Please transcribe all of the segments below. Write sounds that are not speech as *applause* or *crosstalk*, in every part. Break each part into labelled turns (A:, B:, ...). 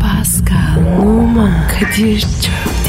A: Pascal, Oman, Kadir çok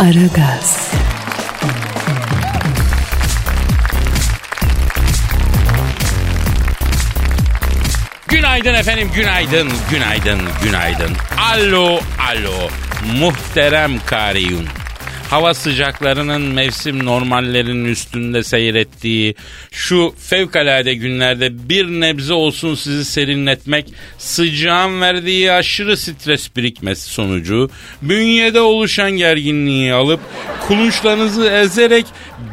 A: Aragaz,
B: Günaydın efendim, günaydın, günaydın, günaydın. Alo, alo, muhterem Kariyun. Hava sıcaklarının mevsim normallerinin üstünde seyrettiği şu fevkalade günlerde bir nebze olsun sizi serinletmek sıcağın verdiği aşırı stres birikmesi sonucu bünyede oluşan gerginliği alıp kulunçlarınızı ezerek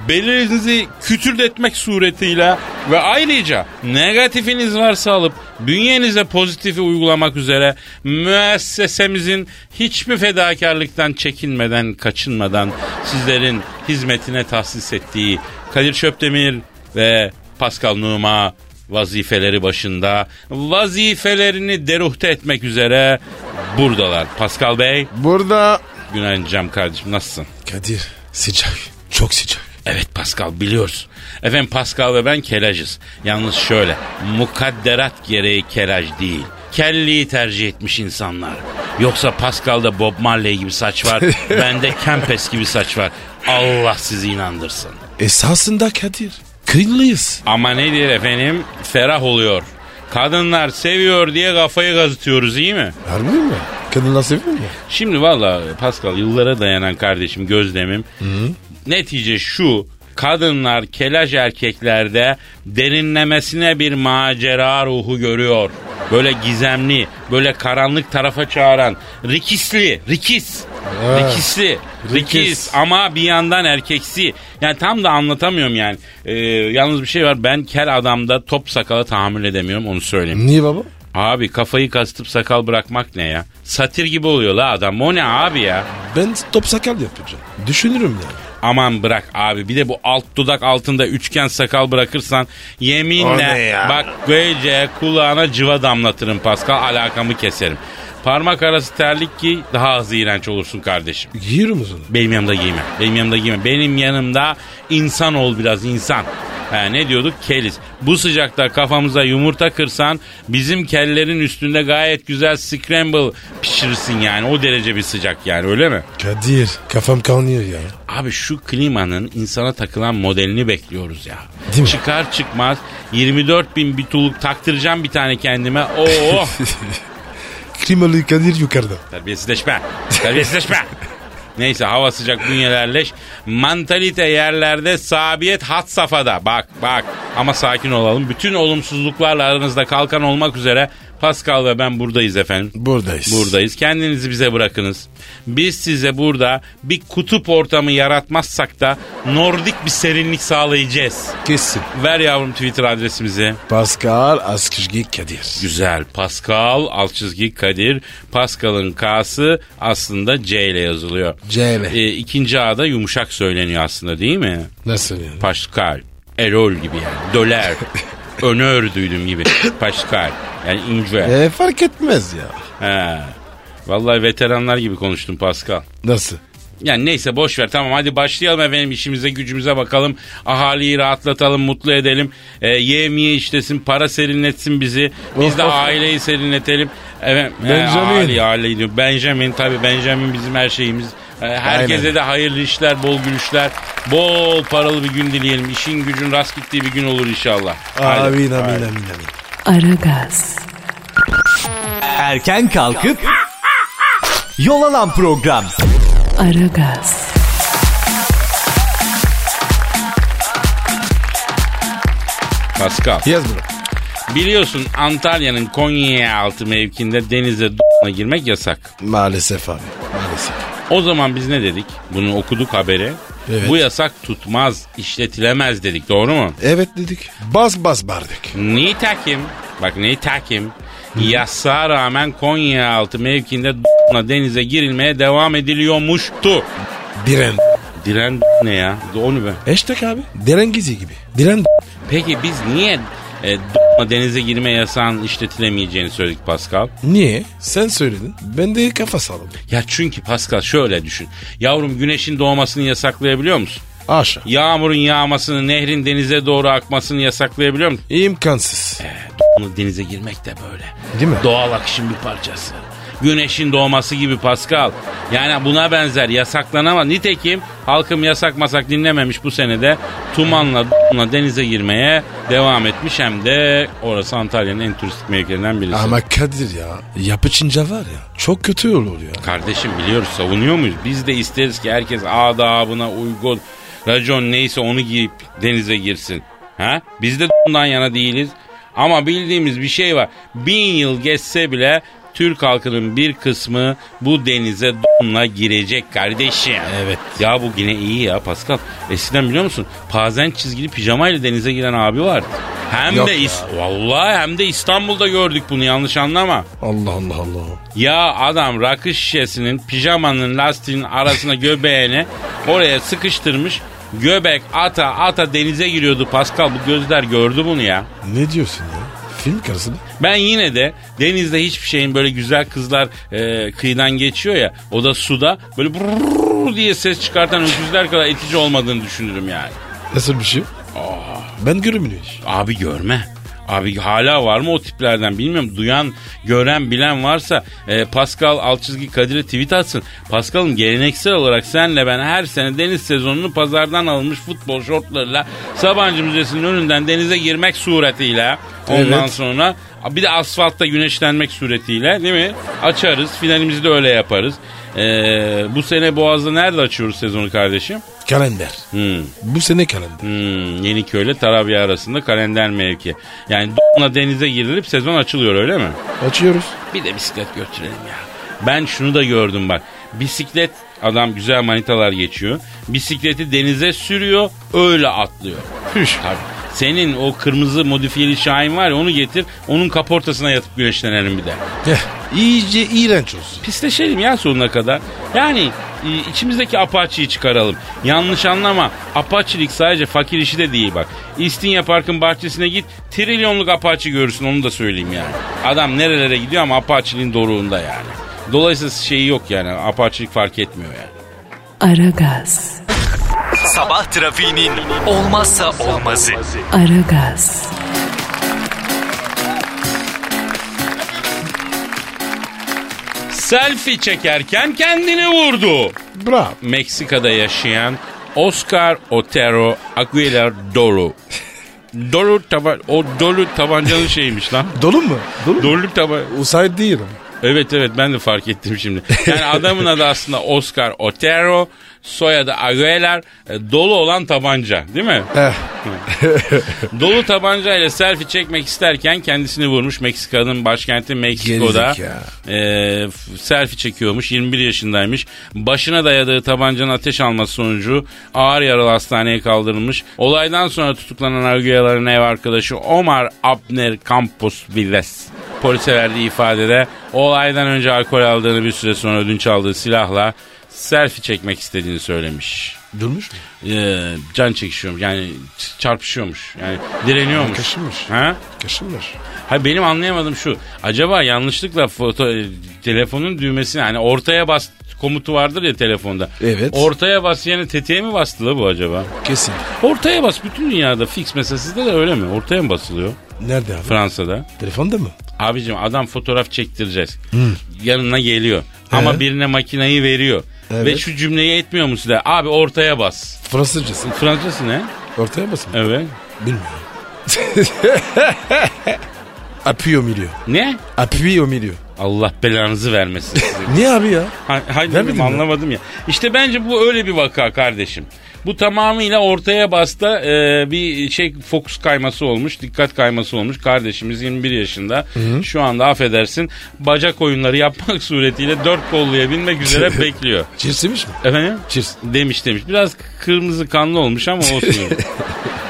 B: belinizi kütürdetmek suretiyle ve ayrıca negatifiniz varsa alıp bünyenize pozitifi uygulamak üzere müessesemizin hiçbir fedakarlıktan çekinmeden, kaçınmadan sizlerin hizmetine tahsis ettiği Kadir Çöptemir ve Pascal Numa vazifeleri başında vazifelerini deruhte etmek üzere buradalar. Pascal Bey,
C: Burada.
B: günaydın Cem kardeşim nasılsın?
C: Kadir sıcak. Çok sıcak.
B: Evet Pascal biliyoruz. Efendim Pascal ve ben kelajız. Yalnız şöyle mukadderat gereği kelaj değil. Kelliyi tercih etmiş insanlar. Yoksa Pascal'da Bob Marley gibi saç var. bende Kempes gibi saç var. Allah sizi inandırsın.
C: Esasında Kadir. Kıllıyız.
B: Ama nedir efendim? Ferah oluyor. Kadınlar seviyor diye kafayı gazıtıyoruz iyi mi?
C: Harbi mi? Kadınlar seviyor mu?
B: Şimdi valla Pascal yıllara dayanan kardeşim gözlemim. Netice şu kadınlar kelaj erkeklerde derinlemesine bir macera ruhu görüyor. Böyle gizemli, böyle karanlık tarafa çağıran, rikisli, rikis,
C: Evet.
B: rikisli,
C: Rikis.
B: rikis ama bir yandan erkeksi. Yani tam da anlatamıyorum yani. Ee, yalnız bir şey var ben kel adamda top sakala tahammül edemiyorum onu söyleyeyim.
C: Niye baba?
B: Abi kafayı kastıp sakal bırakmak ne ya? Satir gibi oluyor la adam. O ne abi ya?
C: Ben top sakal yapacağım. Düşünürüm yani.
B: Aman bırak abi. Bir de bu alt dudak altında üçgen sakal bırakırsan
C: O ne
B: yeminle
C: ya?
B: bak böylece kulağına cıva damlatırım Pascal. Alakamı keserim. Parmak arası terlik giy daha az iğrenç olursun kardeşim.
C: Giyiyorum o zaman.
B: Benim yanımda giyme. Benim yanımda giyme. Benim yanımda insan ol biraz insan. Ha, ne diyorduk? Keliz. Bu sıcakta kafamıza yumurta kırsan bizim kellerin üstünde gayet güzel scramble pişirirsin yani. O derece bir sıcak yani öyle mi?
C: Kadir kafam kanıyor ya. *laughs*
B: Abi şu klimanın insana takılan modelini bekliyoruz ya.
C: Değil mi?
B: Çıkar çıkmaz 24 bin bituluk taktıracağım bir tane kendime. Oo
C: *laughs* Klimalı Kadir yukarıda.
B: terbiyesizleşme. Terbiyesizleşme. Neyse hava sıcak bünyelerleş. Mantalite yerlerde sabiyet hat safhada. Bak bak ama sakin olalım. Bütün olumsuzluklarla aranızda kalkan olmak üzere Pascal ve ben buradayız efendim.
C: Buradayız.
B: Buradayız. Kendinizi bize bırakınız. Biz size burada bir kutup ortamı yaratmazsak da nordik bir serinlik sağlayacağız.
C: Kesin.
B: Ver yavrum Twitter adresimizi.
C: Pascal Askışgi Kadir.
B: Güzel. Pascal alt çizgi Kadir. Pascal'ın K'sı aslında C ile yazılıyor.
C: C ile.
B: E, ikinci A'da yumuşak söyleniyor aslında değil mi?
C: Nasıl yani?
B: Pascal. Erol gibi yani. Döler. Önör duydum gibi. Pascal. Yani ince.
C: E, fark etmez ya.
B: He. Vallahi veteranlar gibi konuştum Pascal.
C: Nasıl?
B: Yani neyse boş ver tamam hadi başlayalım efendim işimize gücümüze bakalım. Ahaliyi rahatlatalım mutlu edelim. E, yevmiye işlesin para serinletsin bizi. Biz de
C: Of, of.
B: aileyi serinletelim. Efendim, he,
C: Oh. Benjamin.
B: ahali, ahali diyor. Benjamin tabii Benjamin bizim her şeyimiz. E, herkese
C: Aynen.
B: de hayırlı işler bol gülüşler. Bol paralı bir gün dileyelim. İşin gücün rast gittiği bir gün olur inşallah. Hadi.
C: Amin amin amin amin.
A: Aragaz,
D: Erken kalkıp yol alan program.
A: Aragaz,
B: Pascal.
C: Yaz bunu.
B: Biliyorsun Antalya'nın Konyaaltı altı mevkinde denize d- girmek yasak.
C: Maalesef abi. Maalesef.
B: O zaman biz ne dedik? Bunu okuduk haberi.
C: Evet.
B: Bu yasak tutmaz, işletilemez dedik doğru mu?
C: Evet dedik. Bas bas bardık.
B: Nitekim, bak nitekim Yasağa rağmen Konya altı mevkiinde d***la denize girilmeye devam ediliyormuştu.
C: Biren.
B: Diren ne ya? Onu be.
C: Hashtag abi. Diren gizi gibi. Diren.
B: Peki biz niye e, d***la denize girme yasağının işletilemeyeceğini söyledik Pascal?
C: Niye? Sen söyledin. Ben de kafa saldım.
B: Ya çünkü Pascal şöyle düşün. Yavrum güneşin doğmasını yasaklayabiliyor musun?
C: Aşağı.
B: Yağmurun yağmasını, nehrin denize doğru akmasını yasaklayabiliyor musun?
C: İmkansız.
B: Bunu denize girmek de böyle.
C: Değil mi?
B: Doğal akışın bir parçası. Güneşin doğması gibi Pascal. Yani buna benzer yasaklanamaz. Nitekim halkım yasak masak dinlememiş bu senede tumanla *laughs* d***la denize girmeye devam etmiş. Hem de orası Antalya'nın en turistik mevkilerinden birisi.
C: Ama Kadir ya. Yapı Çince var ya. Çok kötü olur ya.
B: Kardeşim biliyoruz savunuyor muyuz? Biz de isteriz ki herkes adabına uygun racon neyse onu giyip denize girsin. Ha? Biz de bundan yana değiliz. Ama bildiğimiz bir şey var. Bin yıl geçse bile Türk halkının bir kısmı bu denize donla girecek kardeşim.
C: Evet.
B: Ya bu yine iyi ya Pascal. Eskiden biliyor musun? Pazen çizgili pijamayla denize giren abi vardı. Hem
C: Yok
B: de
C: ya.
B: İs- vallahi hem de İstanbul'da gördük bunu yanlış anlama.
C: Allah Allah Allah.
B: Ya adam rakı şişesinin pijamanın lastiğinin arasına göbeğini oraya sıkıştırmış. Göbek ata ata denize giriyordu Pascal. Bu gözler gördü bunu ya.
C: Ne diyorsun ya? Film karısı mı?
B: Ben yine de denizde hiçbir şeyin böyle güzel kızlar e, kıyıdan geçiyor ya. O da suda böyle brrrr diye ses çıkartan öküzler kadar etici olmadığını düşünürüm yani.
C: Nasıl bir şey? Ben görmüyorum hiç.
B: Abi görme. Abi hala var mı o tiplerden bilmiyorum. Duyan, gören, bilen varsa e, Pascal Alçızgi Kadir'e tweet atsın. Pascal'ım geleneksel olarak senle ben her sene deniz sezonunu pazardan alınmış futbol şortlarıyla Sabancı Müzesi'nin önünden denize girmek suretiyle ondan
C: Evet.
B: sonra bir de asfaltta güneşlenmek suretiyle değil mi? Açarız. Finalimizi de öyle yaparız. E, bu sene Boğaz'da nerede açıyoruz sezonu kardeşim?
C: Kalender.
B: Hmm.
C: Bu sene kalender.
B: Hmm, Yeniköy ile Tarabya arasında kalender mevki. Yani d***la denize girilip sezon açılıyor öyle mi?
C: Açıyoruz.
B: Bir de bisiklet götürelim ya. Ben şunu da gördüm bak. Bisiklet adam güzel manitalar geçiyor. Bisikleti denize sürüyor öyle atlıyor.
C: Hüş.
B: Tabii. Senin o kırmızı modifiyeli Şahin var ya onu getir. Onun kaportasına yatıp güneşlenelim bir de.
C: Heh, iyice iğrenç olsun.
B: Pisleşelim ya sonuna kadar. Yani e, içimizdeki apaçıyı çıkaralım. Yanlış anlama. Apaçilik sadece fakir işi de değil bak. İstinye Park'ın bahçesine git. Trilyonluk apaçı görürsün onu da söyleyeyim yani. Adam nerelere gidiyor ama apaçiliğin doruğunda yani. Dolayısıyla şeyi yok yani. Apaçilik fark etmiyor yani.
A: Aragaz.
D: Sabah trafiğinin olmazsa olmazı.
A: Aragaz.
B: Selfie çekerken kendini vurdu.
C: Bravo.
B: Meksika'da yaşayan Oscar Otero Aguilar Dolu. Dolu taban o dolu tabancanın şeymiş lan.
C: Dolu mu? Dolu mu?
B: Doluluk taban.
C: Usay değil.
B: Evet evet ben de fark ettim şimdi. Yani adamın adı aslında Oscar Otero, soyadı Aguilar, e, dolu olan tabanca değil mi?
C: Eh.
B: *laughs* Dolu tabanca ile selfie çekmek isterken kendisini vurmuş Meksika'nın başkenti Meksiko'da.
C: Gerizekalı.
B: Ee, f- selfie çekiyormuş. 21 yaşındaymış. Başına dayadığı tabancanın ateş alması sonucu ağır yaralı hastaneye kaldırılmış. Olaydan sonra tutuklanan Arguyalar'ın ev arkadaşı Omar Abner Campos Villas. Polise verdiği ifadede olaydan önce alkol aldığını bir süre sonra ödünç aldığı silahla selfie çekmek istediğini söylemiş.
C: Durmuş mu?
B: Ee, can çekişiyormuş yani ç- çarpışıyormuş yani direniyormuş.
C: Kaşınmış.
B: Ha?
C: Kaşınlar.
B: Ha benim anlayamadım şu. Acaba yanlışlıkla foto e, telefonun düğmesini hani ortaya bas komutu vardır ya telefonda.
C: Evet.
B: Ortaya bas yani tetiğe mi bastı la bu acaba?
C: Kesin.
B: Ortaya bas bütün dünyada fix mesela sizde de öyle mi? Ortaya mı basılıyor
C: Nerede abi?
B: Fransa'da?
C: Telefonda mı?
B: Abicim adam fotoğraf çektireceğiz. Yanına geliyor. Ama
C: Ee?
B: birine makineyi veriyor.
C: Evet.
B: Ve şu cümleyi etmiyor mu size? Abi ortaya bas.
C: Fransızcası.
B: Fransızcası ne?
C: Ortaya basın.
B: Evet.
C: Bilmiyorum. *laughs* Appuie au milieu.
B: Ne?
C: Appuie au milieu.
B: Allah belanızı vermesin. size.
C: *laughs* Niye abi ya?
B: Ha- Hayır
C: Vermedin
B: bilmiyorum,
C: mi?
B: anlamadım ya. İşte bence bu öyle bir vaka kardeşim. Bu tamamıyla ortaya basta e, bir şey fokus kayması olmuş, dikkat kayması olmuş. Kardeşimiz 21 yaşında. Şu anda affedersin bacak oyunları yapmak suretiyle dört kolluya
C: *laughs*
B: binmek üzere bekliyor.
C: Çirsemiş mi?
B: Efendim?
C: Cheers.
B: Demiş demiş. Biraz kırmızı
C: *laughs*
B: kanlı olmuş ama olsun.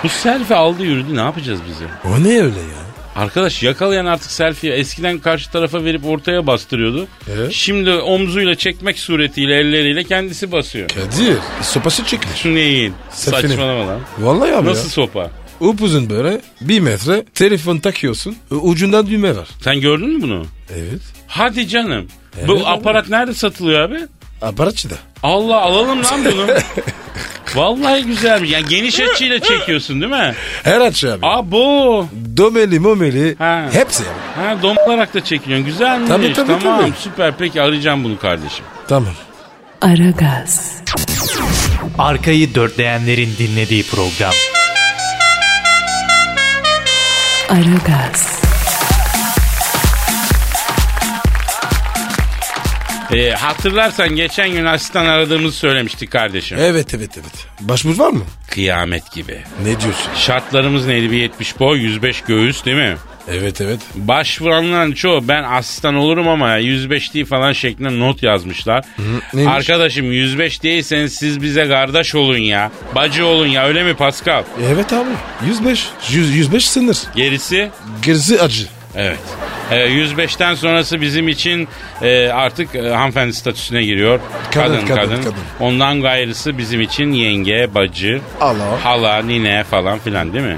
B: bu selfie aldı yürüdü ne yapacağız biz ya?
C: O ne öyle ya?
B: Arkadaş yakalayan artık selfie eskiden karşı tarafa verip ortaya bastırıyordu.
C: Evet.
B: Şimdi omzuyla çekmek suretiyle elleriyle kendisi basıyor.
C: Kadir E, sopası çıkmış.
B: Neyin?
C: Selfie'nin.
B: Saçmalama lan.
C: Vallahi abi
B: Nasıl
C: ya.
B: sopa?
C: Upuzun böyle bir metre telefon takıyorsun e, ucundan düğme var.
B: Sen gördün mü bunu?
C: Evet.
B: Hadi canım.
C: Evet,
B: Bu aparat nerede satılıyor abi?
C: Aparatçıda.
B: Allah alalım
C: *laughs*
B: lan bunu. Vallahi güzelmiş. Yani geniş açıyla çekiyorsun değil mi?
C: Her açı abi.
B: Abo.
C: Domeli momeli
B: Ha.
C: hepsi abi.
B: Ha domlarak da çekiliyorsun. Güzelmiş.
C: Tabii, tabii,
B: tamam
C: tabii.
B: süper. Peki arayacağım bunu kardeşim.
C: Tamam.
A: Aragaz,
D: Arkayı dörtleyenlerin dinlediği program.
A: Aragaz,
B: Ee, hatırlarsan geçen gün asistan aradığımızı söylemiştik kardeşim.
C: Evet evet evet. Başvur var mı?
B: Kıyamet gibi.
C: Ne diyorsun?
B: Şartlarımız neydi? Bir 70 boy, 105 göğüs değil mi?
C: Evet evet.
B: Başvuranların çoğu ben asistan olurum ama 105 değil falan şeklinde not yazmışlar.
C: neymiş?
B: Arkadaşım 105 değilseniz siz bize kardeş olun ya. Bacı olun ya öyle mi Pascal?
C: Evet abi. 105. 100, 105 sınır.
B: Gerisi?
C: Gerisi acı.
B: Evet. Ee, 105'ten sonrası bizim için e, artık e, hanımefendi statüsüne giriyor.
C: Kadın, kadın, kadın.
B: Ondan gayrısı bizim için yenge, bacı,
C: Alo.
B: hala, nine falan filan değil mi?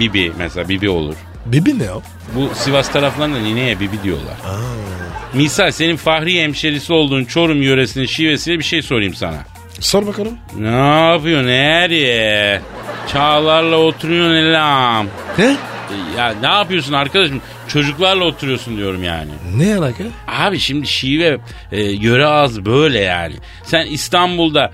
B: Bibi mesela bibi olur.
C: Bibi ne o?
B: Bu Sivas taraflarında nineye bibi diyorlar. Misal senin Fahri hemşerisi olduğun Çorum yöresinin şivesiyle bir şey sorayım sana.
C: Sor bakalım.
B: Ne yapıyorsun nereye? Çağlarla oturuyorsun elam.
C: Ne?
B: Ya ne yapıyorsun arkadaşım? Çocuklarla oturuyorsun diyorum yani.
C: Ne alaka?
B: Abi şimdi şive e, yöre ağzı böyle yani. Sen İstanbul'da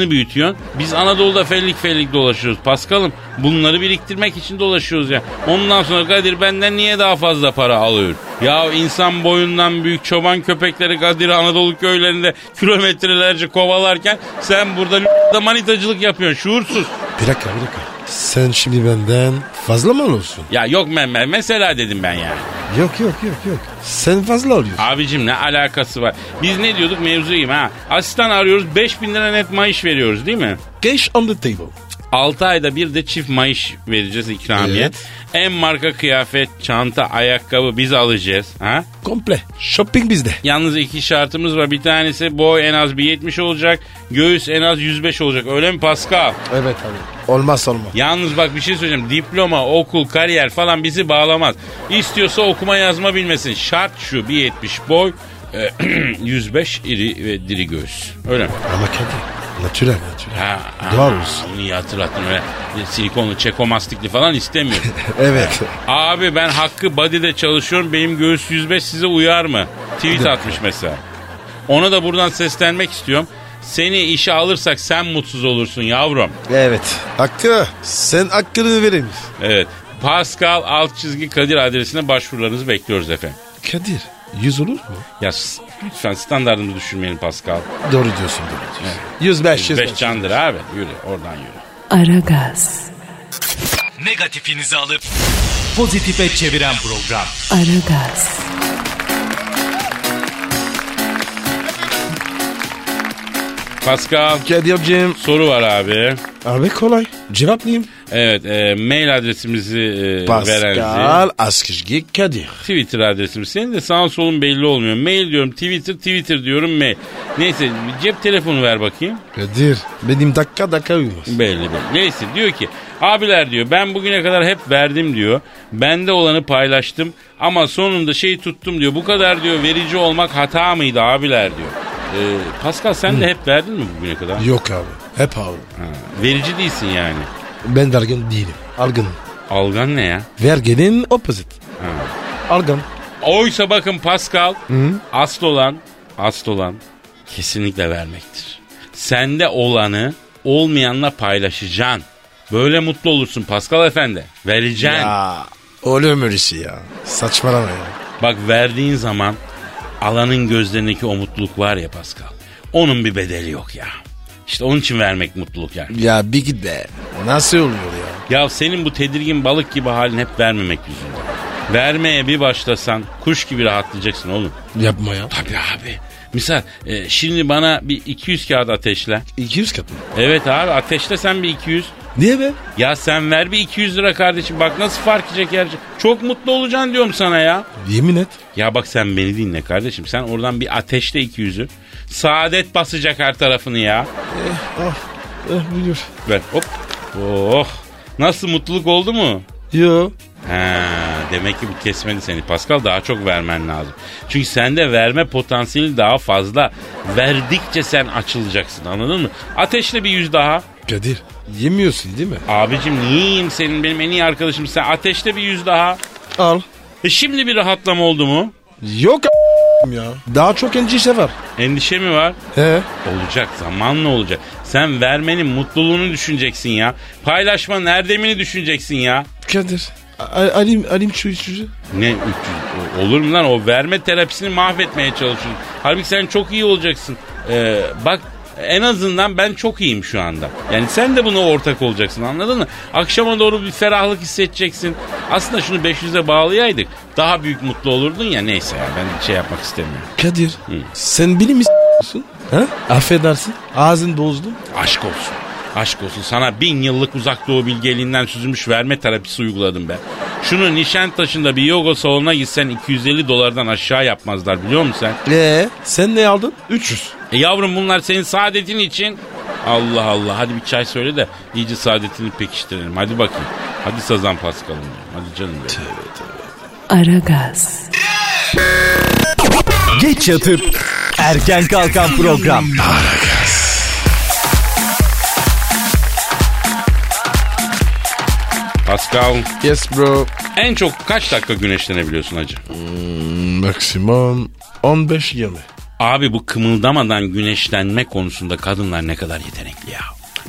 B: e, büyütüyorsun. Biz Anadolu'da fellik fellik dolaşıyoruz. Paskal'ım bunları biriktirmek için dolaşıyoruz ya. Ondan sonra Kadir benden niye daha fazla para alıyor? Ya insan boyundan büyük çoban köpekleri Kadir Anadolu köylerinde kilometrelerce kovalarken sen burada manitacılık yapıyorsun şuursuz.
C: Bir dakika bir dakika. Sen şimdi benden fazla mı alıyorsun?
B: Ya yok ben, ben mesela dedim ben yani.
C: Yok yok yok yok. Sen fazla alıyorsun.
B: Abicim ne alakası var? Biz ne diyorduk mevzuyum ha? Asistan arıyoruz 5000 lira net maaş veriyoruz değil mi?
C: Cash on the table.
B: 6 ayda bir de çift maaş vereceğiz ikramiye.
C: Evet.
B: En marka kıyafet, çanta, ayakkabı biz alacağız. Ha?
C: Komple. Shopping bizde.
B: Yalnız iki şartımız var. Bir tanesi boy en az bir 70 olacak. Göğüs en az 105 olacak. Öyle mi Pascal?
C: Evet abi. Olmaz olmaz.
B: Yalnız bak bir şey söyleyeceğim. Diploma, okul, kariyer falan bizi bağlamaz. İstiyorsa okuma yazma bilmesin. Şart şu bir 70 boy, e, *clears throat* 105 iri ve diri göğüs. Öyle mi?
C: Ama Kadir. Natürel natürel.
B: Ha,
C: Doğru.
B: Onu iyi hatırlattın öyle. Silikonlu, çekomastikli falan istemiyorum.
C: Evet.
B: Abi ben Hakkı Body'de çalışıyorum. Benim göğüs 105 size uyar mı? Tweet atmış mesela. Ona da buradan seslenmek istiyorum. Seni işe alırsak sen mutsuz olursun yavrum.
C: evet. Hakkı. Sen hakkını verin.
B: Evet. Pascal alt çizgi Kadir adresine başvurularınızı bekliyoruz efendim.
C: Kadir. Yüz olur mu?
B: Ya s- lütfen standartımızı düşürmeyelim Pascal.
C: Doğru diyorsun doğru diyorsun. 105
B: Beş candır abi. Yürü oradan yürü.
A: Aragaz,
D: Negatifinizi alıp pozitife çeviren program.
A: Aragaz,
B: Pascal
C: Kadir'cim.
B: soru var abi.
C: Abi kolay. Cevaplayayım.
B: Evet e, mail adresimizi e, veren
C: Pascal Askışgi Kadir.
B: Twitter adresimiz. Senin de sağın solun belli olmuyor. Mail diyorum Twitter, Twitter diyorum mail. Neyse cep telefonu ver bakayım.
C: Kadir. Benim dakika dakika uyumaz.
B: Belli belli. Neyse diyor ki abiler diyor ben bugüne kadar hep verdim diyor. Bende olanı paylaştım ama sonunda şeyi tuttum diyor. Bu kadar diyor verici olmak hata mıydı abiler diyor. Ee, Pascal sen de hep verdin mi bugüne kadar?
C: Yok abi. Hep abi.
B: Ha, verici değilsin yani.
C: Ben vergin değilim. Algınım.
B: Algan ne ya?
C: Verginin opposite. Algın.
B: Oysa bakın Pascal asıl olan asıl olan kesinlikle vermektir. Sende olanı olmayanla paylaşacaksın. Böyle mutlu olursun Pascal efendi. Vereceksin.
C: Ya. Oğlum öylesi ya. Saçmalama ya.
B: Bak verdiğin zaman alanın gözlerindeki o mutluluk var ya Pascal. Onun bir bedeli yok ya. İşte onun için vermek mutluluk yani.
C: Ya bir git be. Nasıl oluyor ya?
B: Ya senin bu tedirgin balık gibi halin hep vermemek yüzünden. Vermeye bir başlasan kuş gibi rahatlayacaksın oğlum.
C: Yapma ya.
B: Tabii abi. Misal e, şimdi bana bir 200 kağıt ateşle.
C: 200 katı.
B: Evet abi ateşle sen bir 200.
C: Niye be?
B: Ya sen ver bir 200 lira kardeşim bak nasıl fark edecek yer. Çok mutlu olacaksın diyorum sana ya.
C: Yemin et.
B: Ya bak sen beni dinle kardeşim sen oradan bir ateşle 200'ü. Saadet basacak her tarafını ya.
C: Eh, buyur.
B: Ver hop. Oh. Nasıl mutluluk oldu mu?
C: Yo.
B: He, demek ki bu kesmedi seni Pascal daha çok vermen lazım. Çünkü sende verme potansiyeli daha fazla. Verdikçe sen açılacaksın anladın mı? Ateşle bir yüz daha.
C: Kadir yemiyorsun değil mi?
B: Abicim niyeyim senin benim en iyi arkadaşım sen ateşle bir yüz daha.
C: Al.
B: E şimdi bir rahatlama oldu mu?
C: Yok a- ya. Daha çok endişe var.
B: Endişe mi var?
C: He.
B: Olacak zamanla olacak. Sen vermenin mutluluğunu düşüneceksin ya. Paylaşmanın erdemini düşüneceksin ya.
C: Kadir. A- A- alim, alim şu şu.
B: Ne 300 o- olur mu lan o verme terapisini mahvetmeye çalışıyorsun. Halbuki sen çok iyi olacaksın. Ee, bak en azından ben çok iyiyim şu anda. Yani sen de buna ortak olacaksın anladın mı? Akşama doğru bir ferahlık hissedeceksin. Aslında şunu 500'e bağlayaydık. Daha büyük mutlu olurdun ya neyse ya ben şey yapmak istemiyorum.
C: Kadir. Sen beni mi s***yorsun? Ha? Affedersin. Ağzını bozdum.
B: Aşk olsun. Aşk olsun sana bin yıllık uzak doğu bilgeliğinden süzülmüş verme terapisi uyguladım ben. Şunu Nişantaşı'nda bir yoga salonuna gitsen 250 dolardan aşağı yapmazlar biliyor musun sen?
C: Eee? Sen ne aldın? 300.
B: E yavrum bunlar senin saadetin için. Allah Allah hadi bir çay söyle de iyice saadetini pekiştirelim. Hadi bakayım. Hadi sazan paskalım. ya. Hadi canım benim.
A: Aragaz,
D: Geç yatıp erken kalkan program.
B: Pascal
C: Yes bro.
B: en çok kaç dakika güneşlenebiliyorsun hacı?
C: Maksimum 15-20.
B: Abi bu kımıldamadan güneşlenme konusunda kadınlar ne kadar yetenekli ya.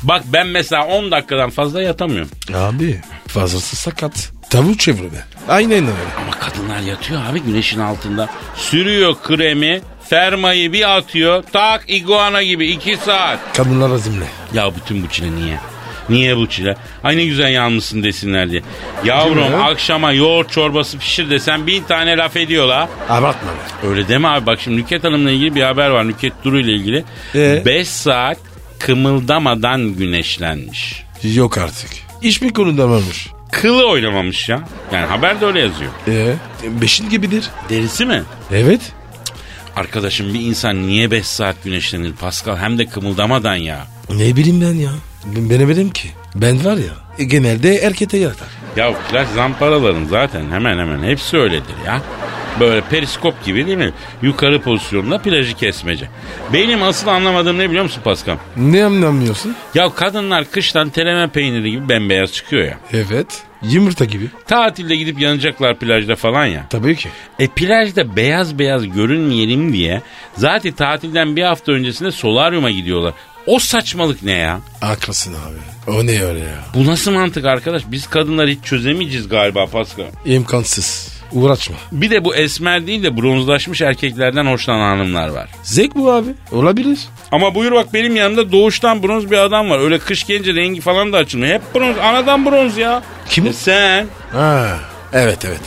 B: Bak ben mesela 10 dakikadan fazla yatamıyorum.
C: Abi fazlası sakat. Tavuk çevirme. Aynen öyle.
B: Ama kadınlar yatıyor abi güneşin altında. Sürüyor kremi, fermayı bir atıyor. Tak iguana gibi 2 saat.
C: Kadınlar azimli.
B: Ya bütün bu çile niye? Niye bu çile? Ay ne güzel yanmışsın desinler diye. Yavrum akşama yoğurt çorbası pişir desen bin tane laf ediyorlar.
C: Abartma be.
B: Öyle deme abi bak şimdi Nükhet Hanım'la ilgili bir haber var. Nükhet Duru ile ilgili.
C: Ee?
B: 5 saat kımıldamadan güneşlenmiş.
C: Yok artık. İş mi konuda varmış?
B: Kılı oynamamış ya. Yani haber de öyle yazıyor.
C: Ee, beşin gibidir.
B: Derisi mi?
C: Evet.
B: Arkadaşım bir insan niye 5 saat güneşlenir Pascal hem de kımıldamadan ya.
C: Ne bileyim ben ya. Ben bilemedim ki. Ben var ya e, genelde erkete yatar.
B: Ya plaj zamparaların zaten hemen hemen hepsi öyledir ya. Böyle periskop gibi değil mi? Yukarı pozisyonda plajı kesmece. Benim asıl anlamadığım ne biliyor musun Paskal?
C: Ne anlamıyorsun?
B: Ya kadınlar kıştan teleme peyniri gibi bembeyaz çıkıyor ya.
C: Evet. Yumurta gibi.
B: Tatilde gidip yanacaklar plajda falan ya.
C: Tabii ki.
B: E plajda beyaz beyaz görünmeyelim diye zaten tatilden bir hafta öncesinde solaryuma gidiyorlar. O saçmalık ne ya?
C: Haklısın abi. O ne öyle ya?
B: Bu nasıl mantık arkadaş? Biz kadınlar hiç çözemeyeceğiz galiba Pascal.
C: İmkansız. Uğraşma.
B: Bir de bu esmer değil de bronzlaşmış erkeklerden hoşlanan hanımlar var.
C: Zek bu abi. Olabilir.
B: Ama buyur bak benim yanımda doğuştan bronz bir adam var. Öyle kış gelince rengi falan da açılmıyor. Hep bronz. Anadan bronz ya.
C: Kim?
B: E sen.
C: Ha. Evet evet.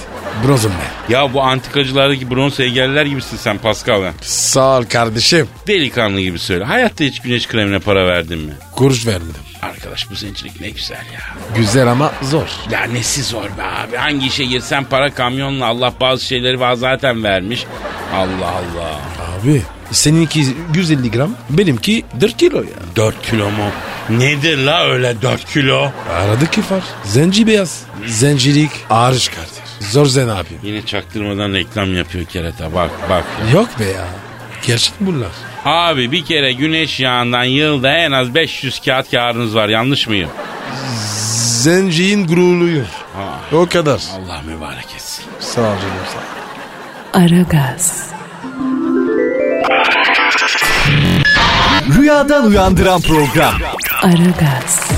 C: Bronzum ben.
B: Ya bu antikacılardaki bronz heygeller gibisin sen Pascal. ya.
C: Sağ ol kardeşim.
B: Delikanlı gibi söyle. Hayatta hiç güneş kremine para verdin mi?
C: Kuruş vermedim.
B: Arkadaş bu zencilik ne güzel ya.
C: Güzel ama zor.
B: Ya nesi zor be abi. Hangi işe girsen para kamyonla Allah bazı şeyleri var zaten vermiş. Allah Allah.
C: Abi seninki 150 gram benimki 4 kilo ya.
B: 4 kilo mu? Nedir la öyle 4 kilo?
C: Aradaki var. Zenci beyaz. Zencilik ağrış kardeş. Zor zen abi.
B: Yine çaktırmadan reklam yapıyor kerata bak bak.
C: Yok be ya. Gerçek bunlar.
B: Abi bir kere güneş yağından yılda en az 500 kağıt karınız var yanlış mıyım?
C: Zenciğin gururluyum. O kadar.
B: Allah mübarek etsin.
C: Sağ ol canım sağ ol.
A: Aragaz,
D: Rüyadan uyandıran program.
A: Aragaz,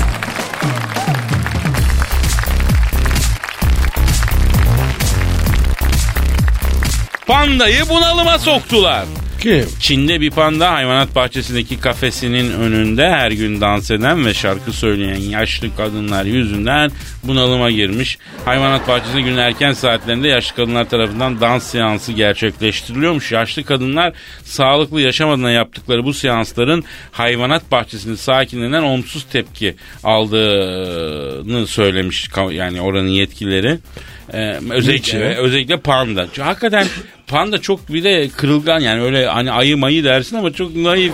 B: Pandayı bunalıma soktular.
C: Kim?
B: Çin'de bir panda hayvanat bahçesindeki kafesinin önünde her gün dans eden ve şarkı söyleyen yaşlı kadınlar yüzünden bunalıma girmiş. Hayvanat bahçesinde günün erken saatlerinde yaşlı kadınlar tarafından dans seansı gerçekleştiriliyormuş. Yaşlı kadınlar sağlıklı yaşam adına yaptıkları bu seansların hayvanat bahçesinin sakinlerinden olumsuz tepki aldığını söylemiş ka- yani oranın yetkilileri. Ee, özellikle,
C: Niçin?
B: özellikle panda. Çünkü hakikaten panda çok bir de kırılgan yani öyle hani ayı mayı dersin ama çok naif,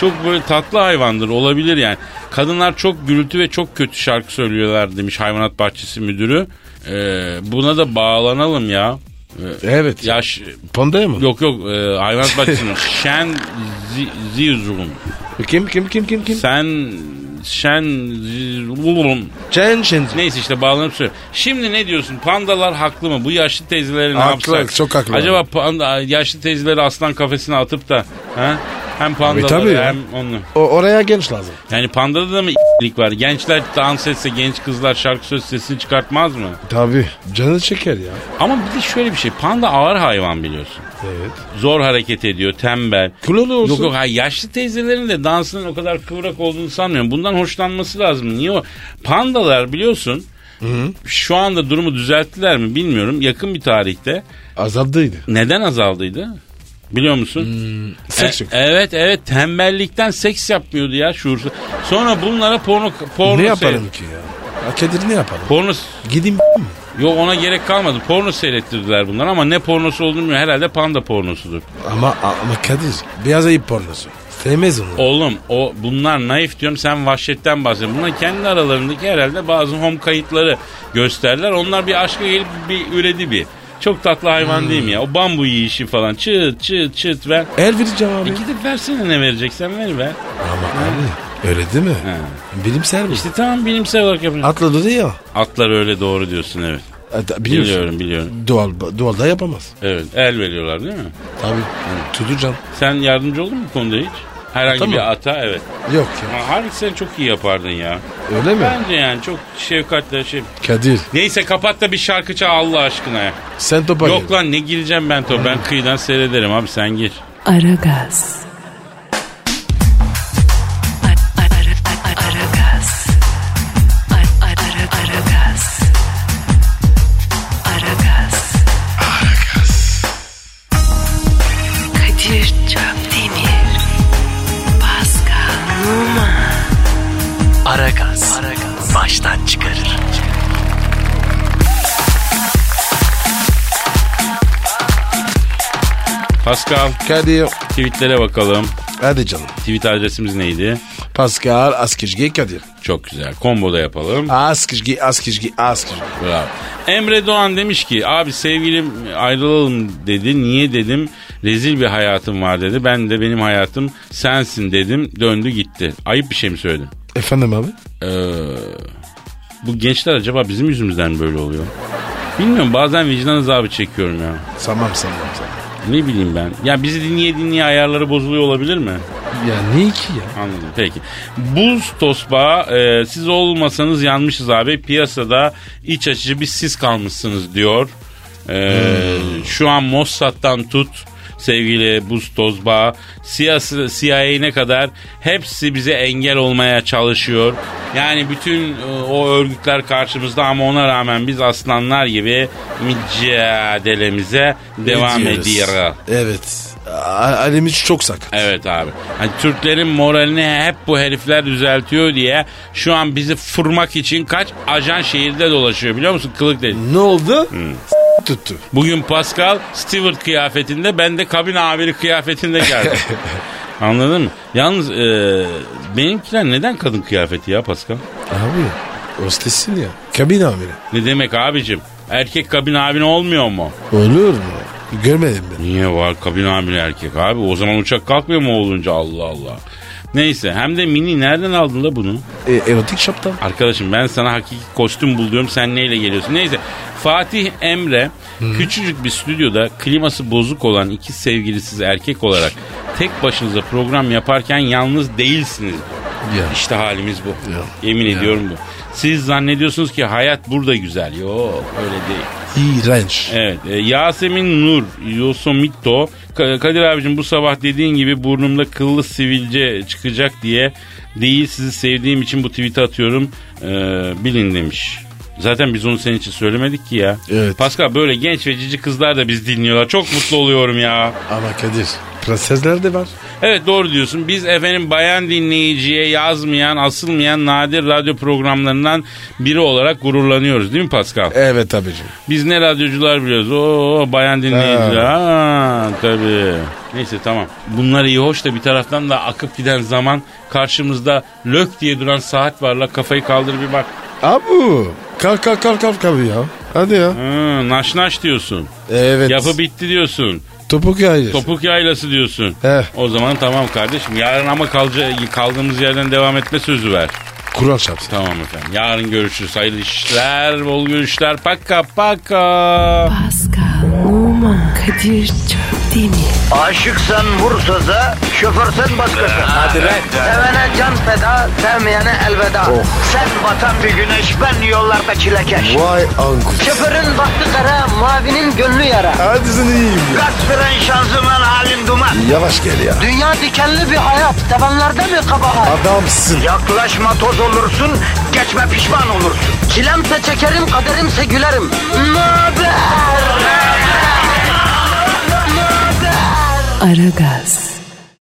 B: çok böyle tatlı hayvandır olabilir yani. Kadınlar çok gürültü ve çok kötü şarkı söylüyorlar demiş hayvanat bahçesi müdürü. Ee, buna da bağlanalım ya.
C: Evet.
B: Yaş
C: Pandaya mı?
B: yok yok e, hayvanat bahçesinin Şen Zi- Zizun.
C: Kim kim kim kim kim?
B: Sen Şen Zizun.
C: Çen Çen.
B: Neyse işte bağlanıp söylüyorum. Şimdi ne diyorsun? Pandalar haklı mı? Bu yaşlı teyzeleri ne
C: Haklı,
B: yapsak?
C: çok haklı.
B: Acaba panda, yaşlı teyzeleri aslan kafesine atıp da ha? hem
C: E tabii
B: pandaları
C: ya.
B: hem onu.
C: O, oraya genç lazım.
B: Yani pandada da mı lik var? Gençler dans etse genç kızlar şarkı söz sesini çıkartmaz mı?
C: Tabii. Canı çeker ya.
B: Ama bir de şöyle bir şey. Panda ağır hayvan biliyorsun.
C: Evet.
B: Zor hareket ediyor, tembel.
C: Kulalı olsun.
B: Yok yok hayır, yaşlı teyzelerin de dansının o kadar kıvrak olduğunu sanmıyorum. Bundan hoşlanması lazım. Niye o? Pandalar biliyorsun şu anda durumu düzelttiler mi bilmiyorum. Yakın bir tarihte
C: Azaldıydı.
B: neden azaldıydı? Biliyor musun?
C: Seks
B: E-
C: yok.
B: evet evet tembellikten seks yapmıyordu ya şuursuz. Sonra bunlara porno porno
C: ne
B: seyret-
C: yapalım ki ya? Ha, Kadir ne yapalım?
B: Porno
C: Gideyim mi?
B: yok ona gerek kalmadı. Porno seyrettirdiler bunlar ama ne pornosu olduğunu bilmiyorum. Herhalde panda pornosudur.
C: Ama, ama Kadir beyaz ayıp pornosu. Sevmez onu.
B: Oğlum o bunlar naif diyorum sen vahşetten bahsediyorsun. Bunlar kendi aralarındaki herhalde bazı home kayıtları gösterler. Onlar bir aşka gelip bir üredi bir. Çok tatlı hayvan
C: Hmm.
B: değil mi ya? O bambu yiyişi falan çıt çıt çıt ver.
C: El vereceğim abi.
B: E gidip versene ne vereceksen ver be.
C: Ama abi öyle değil mi? Bilimsel mi?
B: İşte tamam bilimsel olarak yapın.
C: Atladı da ya.
B: Atlar öyle doğru diyorsun evet.
C: E, da- biliyorsun.
B: Biliyorum biliyorum.
C: Doğal, doğal da yapamaz.
B: Evet el veriyorlar değil mi?
C: Tabii. Tutacağım.
B: Sen yardımcı oldun mu bu konuda hiç? Herhangi
C: Ata mı?
B: bir ata evet.
C: Yok ya.
B: Ha, Halbuki sen çok iyi yapardın ya.
C: Öyle mi?
B: Bence yani çok şefkatle şey.
C: Kadir
B: Neyse kapat da bir şarkı çal Allah aşkına ya.
C: sen topa
B: Yok lan ne gireceğim ben to ben kıyıdan seyrederim abi sen gir.
A: Aragaz. Aragaz. Aragaz. Aragaz. Kadir Çapdemir. Pascal Numa.
E: Aragaz. Baştan çıkarır.
B: Pascal
C: Kadir
B: tweetlere bakalım.
C: hadi canım.
B: Tweet adresimiz neydi?
C: Pascal Askizgi Kadir.
B: Çok güzel. Combo da yapalım.
C: Askizgi Askizgi Askizgi.
B: Bravo. Emre Doğan demiş ki abi sevgilim ayrılalım dedi. Niye dedim? Rezil bir hayatım var dedi. Ben de benim hayatım sensin dedim. Döndü gitti. Ayıp bir şey mi söyledim?
C: Efendim abi?
B: Ee, bu gençler acaba bizim yüzümüzden mi böyle oluyor? Bilmiyorum bazen vicdan azabı çekiyorum ya.
C: Tamam tamam tamam.
B: Ne bileyim ben. Ya bizi dinleye dinleye ayarları bozuluyor olabilir mi?
C: Ya ne ki ya?
B: Anladım peki. Buz tosbağa e, siz olmasanız yanmışız abi. Piyasada iç açıcı bir siz kalmışsınız diyor. E,
C: Hmm.
B: Şu an Mossad'dan tut sevgili buz tosbağa siyasi, CIA'ne kadar hepsi bize engel olmaya çalışıyor. Yani bütün e, o örgütler karşımızda ama ona rağmen biz aslanlar gibi mücadelemize
C: Ne
B: devam
C: diyoruz?
B: ediyoruz.
C: Evet. A- Alemiz çok sak.
B: Evet abi. Hani Türklerin moralini hep bu herifler düzeltiyor diye şu an bizi fırmak için kaç ajan şehirde dolaşıyor biliyor musun? Kılık dedi.
C: Ne oldu?
B: Hmm.
C: S- Tuttu.
B: Bugün Pascal Stewart kıyafetinde ben de kabin amiri kıyafetinde geldim. Anladın mı? Yalnız e, benimkiler neden kadın kıyafeti ya Pascal?
C: Abi hostesin ya. Kabin amiri.
B: Ne demek abicim? Erkek kabin abin olmuyor mu?
C: Olur mu? Görmedim ben.
B: Niye var kabin amiri erkek abi? O zaman uçak kalkmıyor mu olunca Allah Allah. Neyse hem de mini nereden aldın da bunu?
C: E, erotik şaptan.
B: Arkadaşım ben sana hakiki kostüm bul diyorum sen neyle geliyorsun? Neyse Fatih Emre küçücük bir stüdyoda kliması bozuk olan iki sevgilisiz erkek olarak tek başınıza program yaparken yalnız değilsiniz.
C: Ya.
B: İşte halimiz bu.
C: Ya.
B: Yemin ediyorum bu. Siz zannediyorsunuz ki hayat burada güzel. Yok öyle değil.
C: İğrenç.
B: Evet. e, Yasemin Nur Yosemito Ka- Kadir abicim bu sabah dediğin gibi burnumda kıllı sivilce çıkacak diye değil sizi sevdiğim için bu tweet'i atıyorum Ee, bilin demiş. Zaten biz onu senin için söylemedik ki ya.
C: Evet.
B: Pascal böyle genç ve cici kızlar da biz dinliyorlar. Çok mutlu oluyorum ya.
C: Ama Kadir prensesler de var.
B: Evet doğru diyorsun. Biz efendim bayan dinleyiciye yazmayan, asılmayan nadir radyo programlarından biri olarak gururlanıyoruz değil mi Pascal?
C: Evet abicim.
B: Biz ne radyocular biliyoruz. Oo bayan dinleyiciler. Ha, tabii. Neyse tamam. Bunlar iyi hoş da bir taraftan da akıp giden zaman karşımızda lök diye duran saat var la kafayı kaldır bir bak.
C: Abu kalk kalk kalk kalk abi ya. Hadi ya.
B: Hı, naş naş diyorsun.
C: Evet.
B: Yapı bitti diyorsun.
C: Topuk yayır.
B: Topuk yaylası diyorsun.
C: He.
B: O zaman tamam kardeşim. Yarın ama kalca- kaldığımız yerden devam etme sözü ver.
C: Kur'an şapsı.
B: Tamam efendim. Yarın görüşürüz. Hayırlı işler, bol görüşler. Paka paka.
A: Pascal, Oman, Kadir çok değil mi?
F: Aşıksan vursa da, şoförsen başkasın. Hadi Sevene can feda, sevmeyene elveda. Sen batan bir güneş, ben yollarda çilekeş.
C: Vay anku.
F: Şoförün baktı kara, mavinin gönlü yara.
C: Hadi sen iyiyim ya.
F: Kasperen şanzıman halin duman.
C: Yavaş gel ya.
F: Dünya dikenli bir hayat, sevenlerde mi kabahar?
C: Adamsın.
F: Yaklaşma toz olursun, geçme pişman olursun. Çilemse çekerim, kaderimse gülerim. Möber!
A: Aragaz.